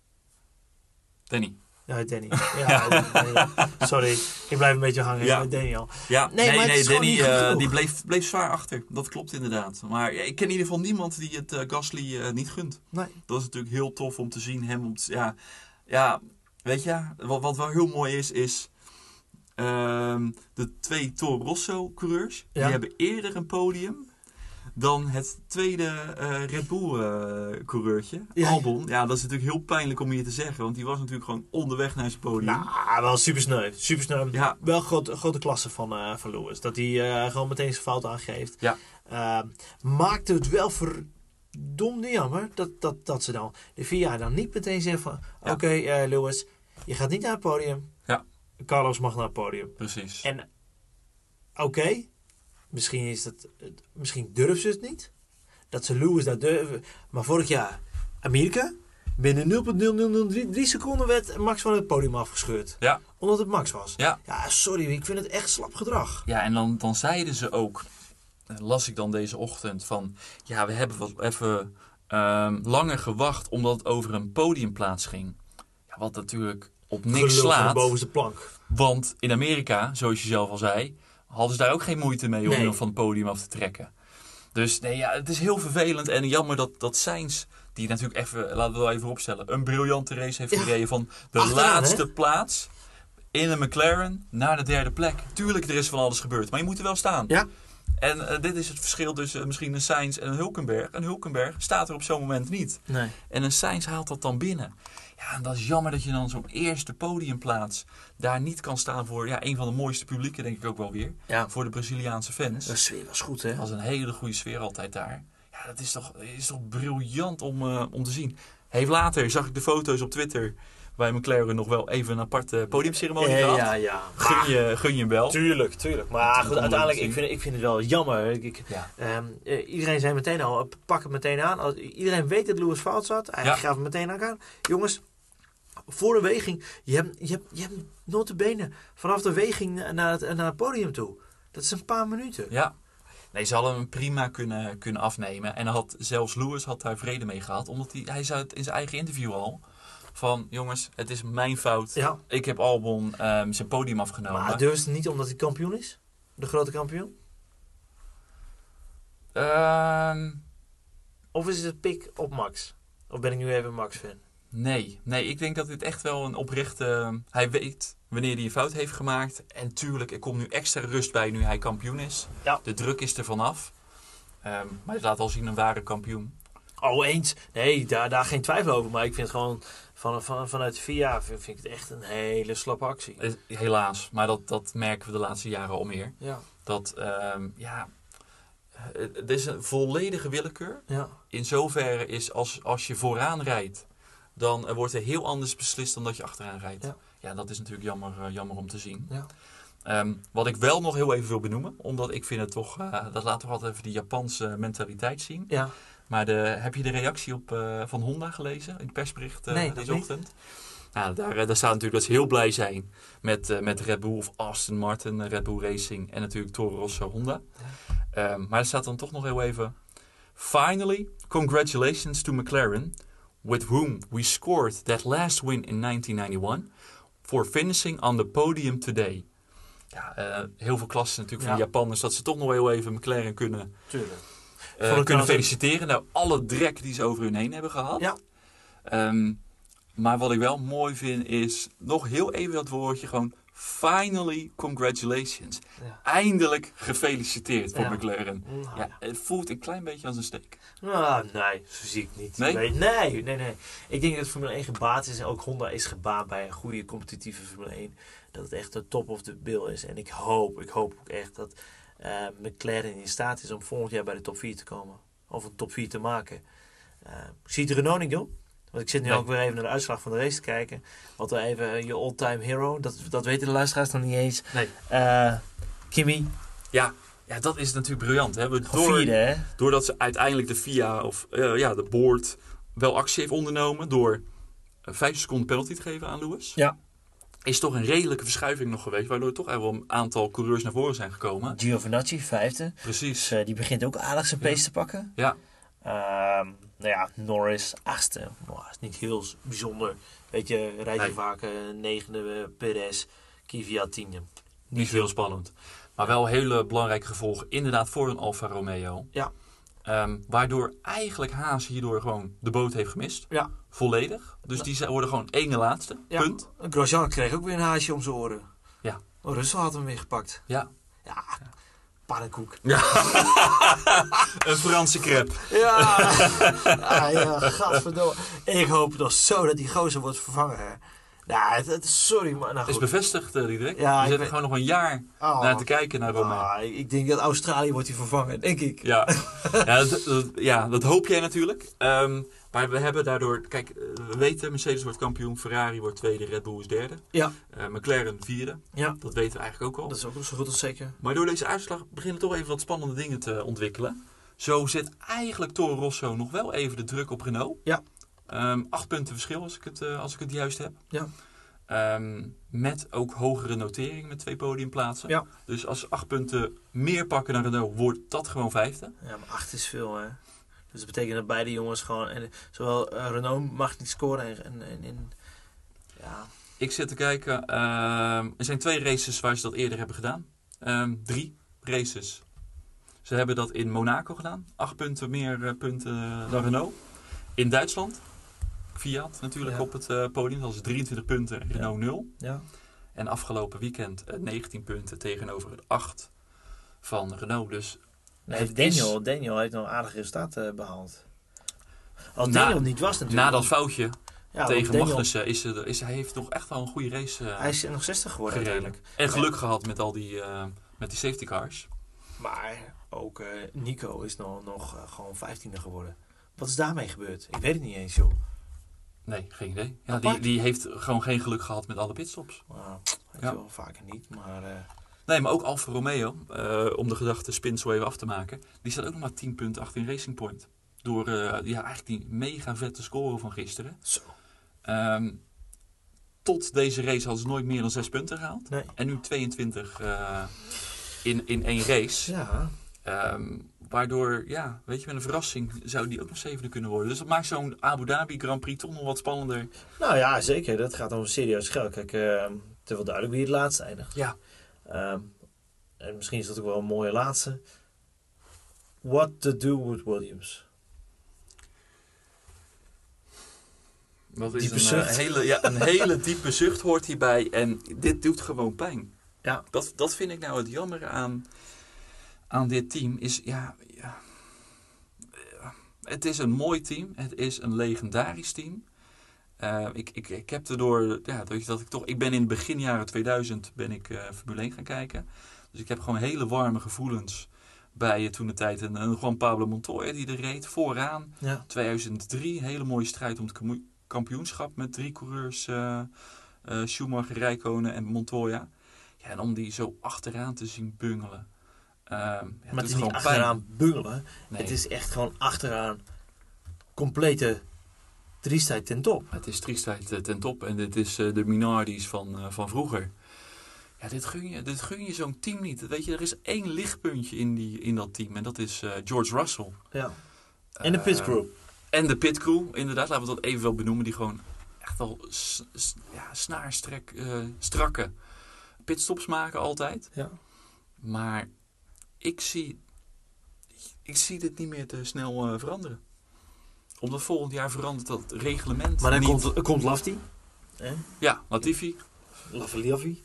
A: Danny.
B: Ja, Danny. Ja, Danny. Sorry, ik blijf een beetje hangen
A: Ja.
B: met Daniel.
A: Ja,
B: Nee,
A: nee,
B: maar
A: nee,
B: het is gewoon
A: Danny
B: niet goed
A: eh,
B: genoeg.
A: die bleef, bleef zwaar achter. Dat klopt inderdaad. Maar ja, ik ken in ieder geval niemand die het eh, Gasly eh, niet gunt.
B: Nee.
A: Dat is natuurlijk heel tof om te zien. Hem om te- ja, ja, weet je, wat, wat wel heel mooi is, is ehm, de twee Toro Rosso coureurs. Die
B: Ja.
A: hebben eerder een podium dan het tweede eh, Red Bull eh, coureurtje,
B: Ja.
A: Albon. Ja, dat is natuurlijk heel pijnlijk om hier te zeggen, want die was natuurlijk gewoon onderweg naar zijn podium.
B: Nou, wel super sneu. Super sneu.
A: Ja,
B: Wel grote, grote klasse van, eh, van Lewis. Dat hij eh, gewoon meteen zijn fout aangeeft.
A: Ja.
B: Ehm, maakte het wel verdomde jammer dat, dat, dat ze dan de VIA dan niet meteen zeggen van...
A: Ja.
B: Oké eh, Lewis, je gaat niet naar het podium.
A: Ja.
B: Carlos mag naar het podium.
A: precies.
B: En oké, misschien, is dat, het- misschien durven ze het niet. Dat ze Lewis daar durven. Maar vorig jaar, Amerika, binnen 0,0003 seconden werd Max van het podium afgescheurd.
A: Ja.
B: Omdat het Max was.
A: Ja.
B: Ja, sorry, ik vind het echt slap gedrag.
A: Ja, en dan, dan zeiden ze ook, eh, las ik dan deze ochtend, van ja, we hebben wat even ehm, langer gewacht omdat het over een podiumplaats ging. Ja, wat natuurlijk op niks
B: Gelul van de
A: slaat.
B: bovenste plank.
A: Want in Amerika, zoals je zelf al zei, hadden ze daar ook geen moeite mee om
B: Nee.
A: hem van het podium af te trekken. Dus nee, ja, het is heel vervelend en jammer dat, dat Sainz, die natuurlijk even, laten we wel even opstellen, een briljante race heeft
B: Ja.
A: gereden van de
B: Achteraan,
A: laatste plaats in een McLaren naar de derde plek. Tuurlijk, er is van alles gebeurd, maar je moet er wel staan.
B: Ja.
A: En eh, dit is het verschil tussen eh, misschien een Sainz en een Hulkenberg. Een Hulkenberg staat er op zo'n moment niet.
B: Nee.
A: En een Sainz haalt dat dan binnen. Ja, en dat is jammer dat je dan zo'n eerste podiumplaats daar niet kan staan voor ja, een van de mooiste publieken, denk ik ook wel weer.
B: Ja. Dus,
A: Voor de Braziliaanse fans.
B: De sfeer was goed, hè?
A: Dat was een hele goede sfeer altijd daar. Ja, dat is toch, is toch briljant om, eh, om te zien. Heeft later, zag ik de foto's op Twitter, bij McLaren nog wel even een aparte podiumceremonie
B: ja,
A: gehad.
B: ja, ja.
A: Gun, je, gun je hem wel.
B: Tuurlijk, tuurlijk. Maar goed,
A: Tuurlijk,
B: uiteindelijk,
A: zie.
B: ik vind, ik vind het wel jammer. Ik, ik-
A: Ja.
B: ehm, eh, iedereen zei meteen al, eh, pak het meteen aan. Als- iedereen weet dat Lewis fout zat. Hij
A: Ja.
B: gaf het meteen aan elkaar. Jongens, voor de weging. Je hebt, je hebt, je hebt notabene vanaf de weging naar het, naar het podium toe. Dat is een paar minuten.
A: Ja. Nee, ze hadden hem prima kunnen, kunnen afnemen. En had, zelfs Lewis had daar vrede mee gehad. Omdat hij, hij zei het in zijn eigen interview al. Van, jongens, het is mijn fout.
B: Ja.
A: Ik heb Albon ehm, zijn podium afgenomen.
B: Nou, Maar durft het niet omdat hij kampioen is? De grote kampioen?
A: Ehm,
B: Of is het pik op Max? Of ben ik nu even Max-fan?
A: nee. nee, ik denk dat dit echt wel een oprechte... Hij weet wanneer hij een fout heeft gemaakt. En tuurlijk, er komt nu extra rust bij nu hij kampioen is.
B: Ja.
A: De druk is er vanaf. Ehm, maar het laat al zien een ware kampioen.
B: Oh, eens. Nee, daar, daar geen twijfel over. Maar ik vind gewoon van, van, vanuit VIA vind, vind ik het echt een hele slappe actie.
A: Eh, Helaas, maar dat, dat merken we de laatste jaren al meer.
B: Ja,
A: dat ehm, ja, eh, het is een volledige willekeur.
B: ja.
A: In zoverre is als, als je vooraan rijdt, dan eh, wordt er heel anders beslist dan dat je achteraan rijdt.
B: Ja.
A: Ja, dat is natuurlijk jammer, eh, jammer om te zien.
B: ja.
A: Ehm, wat ik wel nog heel even wil benoemen, omdat ik vind het toch, eh, dat laat toch altijd even die Japanse mentaliteit zien.
B: ja.
A: Maar de, heb je de reactie op, eh, van Honda gelezen in het persbericht eh,
B: Nee, nog
A: deze
B: niet.
A: ochtend? Nou, daar, eh, daar staat natuurlijk dat ze heel blij zijn met, eh, met Red Bull of Aston Martin, eh, Red Bull Racing en natuurlijk Toro Rosso Honda. Ehm, maar er staat dan toch nog heel even. Finally, congratulations to McLaren, with whom we scored that last win in 1991, for finishing on the podium today. Ja, eh, heel veel klassen natuurlijk van
B: Ja.
A: de Japanners dat ze toch nog heel even McLaren kunnen
B: Tuurlijk.
A: eh,
B: Vond ik
A: kunnen
B: trouwens ook-
A: feliciteren. Nou, alle drek die ze over hun heen hebben gehad.
B: Ja.
A: Ehm, maar wat ik wel mooi vind is nog heel even dat woordje gewoon finally congratulations.
B: Ja.
A: Eindelijk gefeliciteerd voor
B: Ja.
A: McLaren.
B: Nou,
A: Ja, het voelt een klein beetje als een steek.
B: ja. Ah, nee, zo zie ik niet.
A: Nee?
B: Nee? Nee, nee, nee. Ik denk dat Formule 1 gebaat is en ook Honda is gebaat bij een goede competitieve Formule 1. Dat het echt de top of the bill is. En ik hoop, ik hoop ook echt dat eh, McLaren in staat is om volgend jaar bij de top 4 te komen. Of een top 4 te maken. Eh, ik zie het Renault niet doen. Want ik zit nu
A: Nee.
B: ook weer even naar de uitslag van de race te kijken. Want wel even eh, je all-time hero, dat, dat weten de luisteraars nog niet eens.
A: Nee.
B: Eh, Kimi,
A: Ja, ja dat is natuurlijk briljant. Hè? We-
B: gewoon vierde hè?
A: doordat ze uiteindelijk de FIA of eh, ja, de board wel actie heeft ondernomen door eh, vijf seconden penalty te geven aan Lewis.
B: Ja.
A: Is toch een redelijke verschuiving nog geweest, waardoor toch eigenlijk wel een aantal coureurs naar voren zijn gekomen.
B: Giovinazzi, vijfde.
A: Precies.
B: Dus, eh, die begint ook aardig zijn pace te pakken.
A: Ja.
B: Ehm, nou ja, Norris achtste. Nou, dat is niet heel s- bijzonder. Weet je, rijd je
A: Nee.
B: vaak eh, negende, eh, Perez, Kvyat tiende.
A: Niet heel spannend. Maar wel hele belangrijke gevolgen inderdaad voor een Alfa Romeo.
B: Ja.
A: Ehm, waardoor eigenlijk Haas hierdoor gewoon de boot heeft gemist.
B: Ja.
A: Volledig. Dus die zijn- worden gewoon ene laatste.
B: Ja.
A: Punt.
C: Grosjean kreeg ook weer een haasje om zijn oren.
A: Ja.
C: Oh, Russell had hem weer gepakt.
A: Ja.
B: Ja, pannenkoek.
A: Een Franse crepe.
C: Ja!
B: ah, ja, gadverdomme.
C: ik hoop nog zo dat die gozer wordt vervangen. Hè. Nou, het, het- sorry, maar nou
A: Is
C: goed.
A: bevestigd, eh, Diederik.
C: Ja, ik
A: Ja, je zit er
C: weet-
A: gewoon nog een jaar
C: Oh.
B: Nou,
A: naar te kijken naar Romeo.
C: Ah, ik denk dat Australië wordt hier vervangen, denk ik.
A: Ja, ja, dat, dat- ja, dat hoop jij natuurlijk. Ehm, maar we hebben daardoor... Kijk, eh, we weten Mercedes wordt kampioen. Ferrari wordt tweede. Red Bull is derde.
C: Ja.
A: eh, McLaren vierde.
C: Ja.
A: Dat weten we eigenlijk ook al.
C: Dat is ook nog zo goed als zeker.
A: Maar door deze uitslag beginnen toch even wat spannende dingen te ontwikkelen. Zo zet eigenlijk Toro Rosso nog wel even de druk op Renault.
C: Ja.
A: Ehm, acht punten verschil als ik het, eh, als ik het juist heb.
C: Ja.
A: Ehm, met ook hogere notering met twee podiumplaatsen.
C: Ja.
A: Dus als ze acht punten meer pakken dan Renault, wordt dat gewoon vijfde.
B: Ja, maar acht is veel, hè. Dus dat betekent dat beide jongens gewoon... En, zowel eh, Renault mag niet scoren en... en, en, en- ja,
A: Ik zit te kijken. ehm, er zijn twee races waar ze dat eerder hebben gedaan. Ehm, drie races. Ze hebben dat in Monaco gedaan. Acht punten meer eh, punten dan Renault. In Duitsland. Fiat natuurlijk
B: Ja.
A: op het eh, podium. Dat is 23 punten. en Renault 0.
B: ja.
A: En afgelopen weekend eh, 19 punten tegenover het 8 van Renault. Dus
B: Nee,
A: Het
B: Daniel, Daniel heeft nog aardige resultaten eh, behaald. Als
A: Na-
B: Daniel niet was natuurlijk.
A: na dat foutje
B: Ja, want
A: tegen
B: Daniel-
A: Magnussen is, er- is, hij heeft nog echt wel een goede race eh
B: Hij is nog 60 geworden
A: gereden.
B: uiteindelijk.
A: En geluk gehad met al die, eh, met die safety cars.
B: Maar ook eh, Nico is nog, nog eh, gewoon 15e geworden. Wat is daarmee gebeurd? Ik weet het niet eens, joh.
A: Nee, geen idee. Ja,
B: Apart.
A: die, die heeft gewoon geen geluk gehad met alle pitstops.
B: Nou, weet
A: Ja.
B: je wel, vaker niet. Maar eh,
A: Nee, maar ook Alfa Romeo, eh, om de gedachte spin zo even af te maken, die staat ook nog maar 10 punten achter in Racing Point. Door eh, ja, eigenlijk die mega vette score van gisteren.
B: zo.
A: Ehm, tot deze race hadden ze nooit meer dan 6 punten gehaald.
B: Nee.
A: En nu 22 eh, in, in één race.
B: Ja.
A: Ehm, waardoor, ja, weet je, met een verrassing zou die ook nog zevende kunnen worden. Dus dat maakt zo'n Abu Dhabi Grand Prix toch nog wat spannender.
B: Nou ja, zeker. Dat gaat om een serieus geld. Kijk, eh, het is wel duidelijk wie het laatste eindigt.
A: Ja.
B: Ehm, en misschien is dat ook wel een mooie laatste. What to do with Williams?
A: Wat is
B: Diepe
A: een, eh,
B: zucht.
A: hele, ja, een hele diepe zucht hoort hierbij. En dit doet gewoon pijn.
B: Ja.
A: Dat, dat vind ik nou het jammer aan, aan dit team. Is, ja, ja, ja. het is een mooi team. Het is een legendarisch team. Eh, ik, ik, ik heb erdoor, ja, weet je, dat ik toch, ik ben in begin jaren 2000 ben ik eh, Formule 1 gaan kijken. Dus ik heb gewoon hele warme gevoelens bij toen de tijd. En, en Juan Pablo Montoya die er reed vooraan.
B: Ja.
A: 2003, hele mooie strijd om het kamoe- kampioenschap met drie coureurs: eh, eh, Schumacher, Rijkonen en Montoya. Ja, en om die zo achteraan te zien bungelen. ehm, ja, doet
B: maar het is
A: gewoon
B: niet
A: pijn.
B: achteraan bungelen.
A: Nee,
B: Het is echt gewoon achteraan complete triestheid ten top.
A: het is triestheid eh, ten top. En dit is eh, de Minardis van, eh, van vroeger. Ja, dit gun je, dit gun je zo'n team niet. Weet je, er is één lichtpuntje in, die, in dat team. En dat is eh, George Russell.
B: Ja. En de
A: Eh,
B: pitcrew.
A: En de pitcrew, inderdaad, laten we dat even wel benoemen, die gewoon echt al s- s- ja, snaarstrek, eh, strakke pitstops maken altijd.
B: Ja.
A: Maar ik zie, ik zie dit niet meer te snel eh, veranderen. Omdat volgend jaar verandert dat reglement
B: Maar dan
A: niet.
B: komt, komt Lafty.
A: Ja, Latifi.
B: Lafty.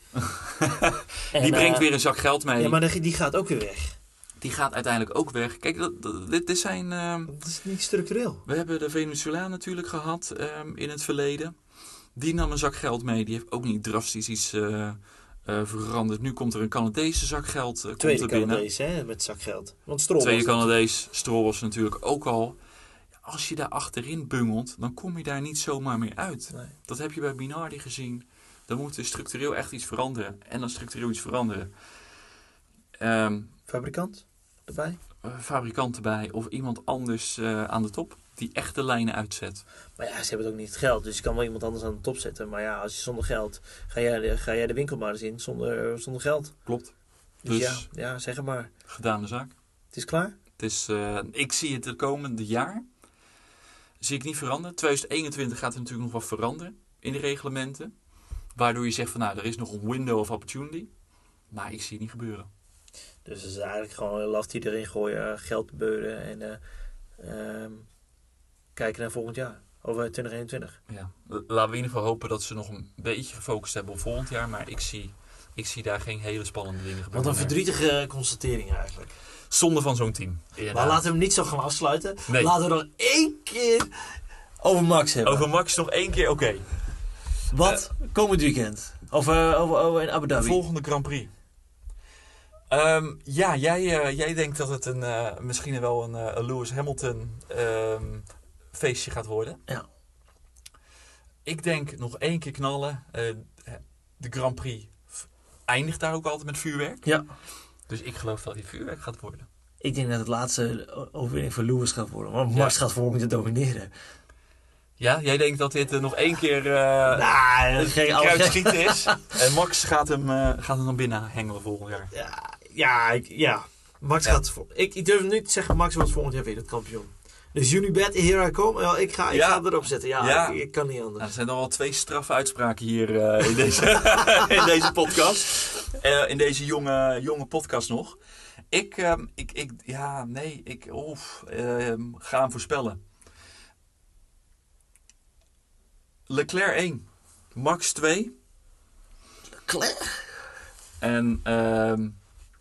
A: die brengt weer een zak geld mee.
B: eh, Ja, maar die- die gaat ook weer weg.
A: Die gaat uiteindelijk ook weg. Kijk, dat, dat- dit, dit zijn... ehm,
B: Dat is niet structureel.
A: We hebben de Venezolaan natuurlijk gehad ehm, in het verleden. Die nam een zak geld mee. Die heeft ook niet drastisch iets eh, eh, veranderd. Nu komt er een Canadese zak geld eh, komt
B: Tweede
A: er binnen.
B: Canadees, hè, met zakgeld. Want Strol
A: Tweede
B: was-
A: Canadees. Strol was natuurlijk ook al. Als je daar achterin bungelt, dan kom je daar niet zomaar meer uit.
B: Nee.
A: Dat heb je bij Binardi gezien. Dan moet er structureel echt iets veranderen. En dan structureel iets veranderen. Ehm,
B: Fabrikant erbij.
A: eh, fabrikant erbij of iemand anders eh, aan de top die echt de lijnen uitzet.
B: Maar ja, ze hebben het ook niet het geld. Dus je kan wel iemand anders aan de top zetten. Maar ja, als je zonder geld... Ga jij, de- ga jij de winkel maar eens in zonder, zonder geld.
A: Klopt.
B: Dus,
A: Dus-
B: ja, ja, zeg het maar.
A: Gedane zaak.
B: Het is klaar.
A: Het is, eh, ik zie het het komende jaar. Zie ik niet veranderen. 2021 gaat er natuurlijk nog wat veranderen in de reglementen. Waardoor je zegt van nou, er is nog een window of opportunity. Maar ik zie het niet gebeuren.
D: Dus het is eigenlijk gewoon last die erin gooien, eh, geld beuren en eh, ehm, kijken naar volgend jaar. Over 2021.
A: Ja. L- Laten we in ieder geval hopen dat ze nog een beetje gefocust hebben op volgend jaar. Maar ik zie, ik zie daar geen hele spannende dingen gebeuren.
B: Wat een verdrietige constatering eigenlijk.
A: Zonde van zo'n team. Inderdaad.
B: Maar laten we hem niet zo gaan afsluiten.
A: Nee.
B: Laten we nog één keer over Eh. Max hebben.
A: Over Max nog één keer. Oké.
B: Wat komend weekend? Of eh, over, over in Abu Dhabi?
A: Volgende Grand Prix. Ehm, ja, jij, eh, jij denkt dat het een, eh, misschien wel een eh, een Lewis Hamilton ehm, feestje gaat worden.
B: Ja.
A: Ik denk nog één keer knallen. Eh, de Grand Prix f- eindigt daar ook altijd met vuurwerk.
B: Ja.
A: Dus ik geloof dat hij vuurwerk gaat worden.
B: Ik denk dat het laatste o- overwinning voor Lewis gaat worden. Want Max gaat voor moeten domineren.
A: Ja, jij denkt dat dit eh, nog één keer eh
B: nou, dat ging alles
A: kruid
B: gek.
A: schieten is. en Max gaat hem, eh, gaat hem dan binnen hengelen volgend jaar.
B: Ja, ik- ja. Max
A: Ja.
B: gaat... voor- Ik, ik durf nu te zeggen, Max wordt volgend jaar wereldkampioen. Dus Unibet, here I come. Ja, ik ga, ik
A: Ja.
B: ga erop zetten. Ja,
A: Ja.
B: Ik, ik kan niet
A: Nou,
B: anders.
A: er zijn al wel twee straffe uitspraken hier eh, in, deze, in deze podcast. Eh, in deze jonge, jonge podcast nog. Ik, ehm, ik, ik ja, nee, ik oef, ehm, ga hem voorspellen. Leclerc 1, Max 2
B: Eh, Claire?
A: en ehm,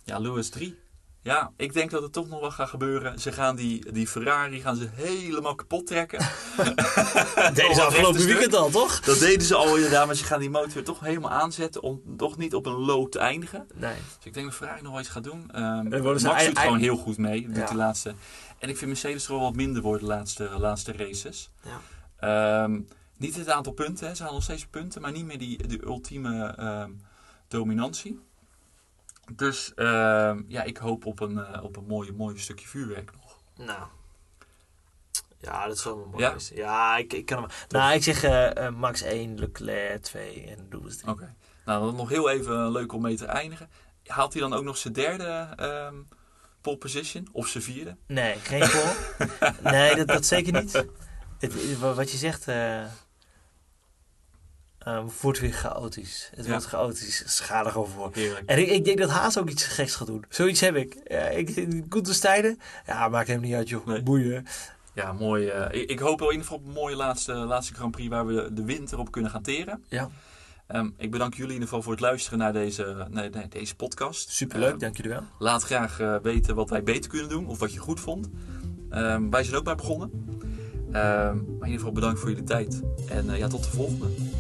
A: ja, Lewis 3. Ja, ik denk dat het toch nog wel gaat gebeuren. Ze gaan die, die Ferrari gaan ze helemaal kapot trekken.
B: Deze
A: Wat
B: afgelopen
A: rechte
B: weekend al, toch?
A: Dat deden ze al inderdaad, maar ze gaan die motor toch helemaal aanzetten om toch niet op een low te eindigen.
B: Nee.
A: Dus ik denk dat Ferrari nog wel iets gaat doen. Ehm
B: Dan Eh, worden
A: Max
B: ze
A: doet
B: ei- ei-
A: gewoon heel goed mee, doet
B: Ja.
A: de laatste. En ik vind Mercedes er wel wat minder worden de laatste, laatste races.
B: Ja.
A: Ehm, niet het aantal punten, hè. ze halen nog steeds punten, maar niet meer die, die ultieme ehm, dominantie. Dus ehm, ja, ik hoop op een, eh, op een mooie, mooie stukje vuurwerk nog.
B: Nou. Ja, dat is wel mooi.
A: Ja?
B: Ja, ja ik, ik kan hem... Nou, ik zeg eh, eh, Max 1, Leclerc 2 en Lewis 3.
A: Oké. Nou, dan nog heel even leuk om mee te eindigen. Haalt hij dan ook nog zijn derde ehm pole position? Of zijn vierde?
B: Nee, geen goal. nee, dat, dat zeker niet. Het- Het, wa- wat je zegt, eh ehm, wordt weer chaotisch. Het
A: Ja.
B: wordt chaotisch. Schadig over.
A: Heerlijk.
B: En ik, ik denk dat Haas ook iets geks gaat doen. Zoiets heb ik. Ja, ik Gunther Steinen? Ja, maakt hem niet uit, joh.
A: Nee.
B: Boeien.
A: Ja, mooi. eh, ik, ik hoop wel in ieder geval op een mooie laatste, laatste Grand Prix waar we de, de winter op kunnen gaan teren.
B: Ja.
A: Ehm, ik bedank jullie in ieder geval voor het luisteren naar deze, nee, nee, deze podcast.
B: Superleuk,
A: Ehm,
B: dank jullie wel.
A: Laat graag eh, weten wat wij beter kunnen doen of wat je goed vond. Ehm, wij zijn ook bij begonnen. Ehm, maar in ieder geval bedankt voor jullie tijd. En eh, ja, tot de volgende.